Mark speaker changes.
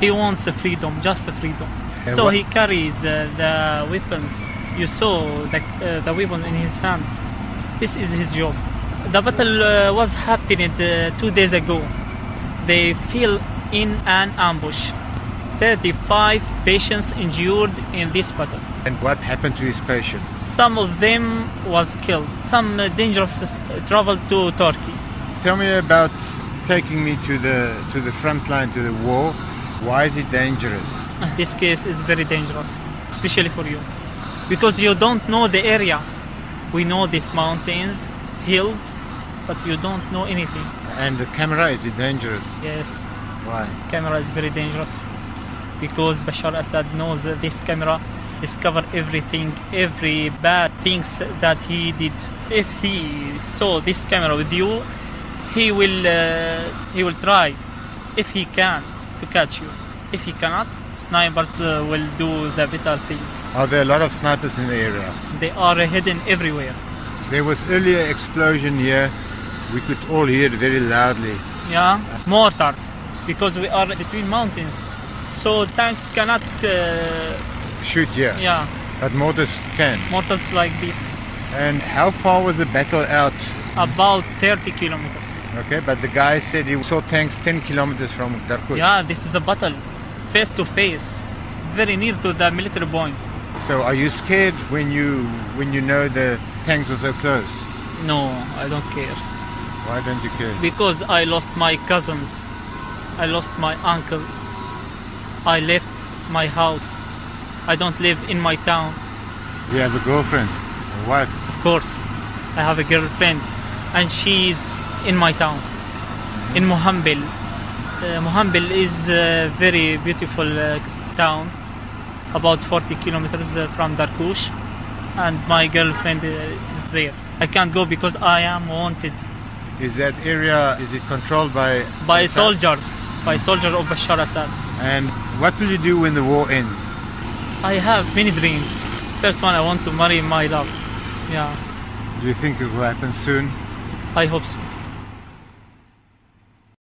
Speaker 1: He wants the freedom, just the freedom.
Speaker 2: And
Speaker 1: so
Speaker 2: what-
Speaker 1: he carries uh, the weapons. You saw the, uh, the weapon in his hand. This is his job. The battle uh, was happening uh, two days ago. They fell in an ambush. 35 patients injured in this battle.
Speaker 2: And what happened to his patient?
Speaker 1: Some of them was killed. Some uh, dangerous uh, traveled to Turkey.
Speaker 2: Tell me about taking me to the to the front line to the war. Why is it dangerous?
Speaker 1: this case is very dangerous, especially for you, because you don't know the area. We know these mountains, hills, but you don't know anything.
Speaker 2: And the camera is it dangerous?
Speaker 1: Yes,
Speaker 2: Why?
Speaker 1: camera is very dangerous because Bashar Assad knows that this camera discover everything, every bad things that he did. If he saw this camera with you, he will uh, he will try, if he can, to catch you. If he cannot, snipers uh, will do the better thing.
Speaker 2: Are there a lot of snipers in the area?
Speaker 1: They are hidden everywhere.
Speaker 2: There was earlier explosion here. We could all hear it very loudly.
Speaker 1: Yeah, mortars because we are between mountains, so tanks cannot. Uh,
Speaker 2: Shoot here.
Speaker 1: yeah,
Speaker 2: But mortars can.
Speaker 1: mortars like this
Speaker 2: And how far was the battle out?
Speaker 1: about 30 kilometers.
Speaker 2: Okay, but the guy said he saw tanks 10 kilometers from Darkut.
Speaker 1: Yeah, this is a battle, face to face, very near to the military point.
Speaker 2: So are you scared when you when you know the tanks are so close?
Speaker 1: No, I don't care
Speaker 2: Why don't you care?
Speaker 1: because I lost my cousins, I lost my uncle, I left my house. I don't live in my town.
Speaker 2: You have a girlfriend, a wife.
Speaker 1: Of course, I have a girlfriend, and she's in my town, in Mohambil. Uh, Mohambil is a very beautiful uh, town, about 40 kilometers uh, from Darkush, and my girlfriend uh, is there. I can't go because I am wanted
Speaker 2: Is that area is it controlled by
Speaker 1: by
Speaker 2: Assad?
Speaker 1: soldiers, by soldiers of Bashar Assad.
Speaker 2: And what will you do when the war ends?
Speaker 1: I have many dreams. First one, I want to marry my love. Yeah,
Speaker 2: Do you think it will happen soon?
Speaker 1: I hope so.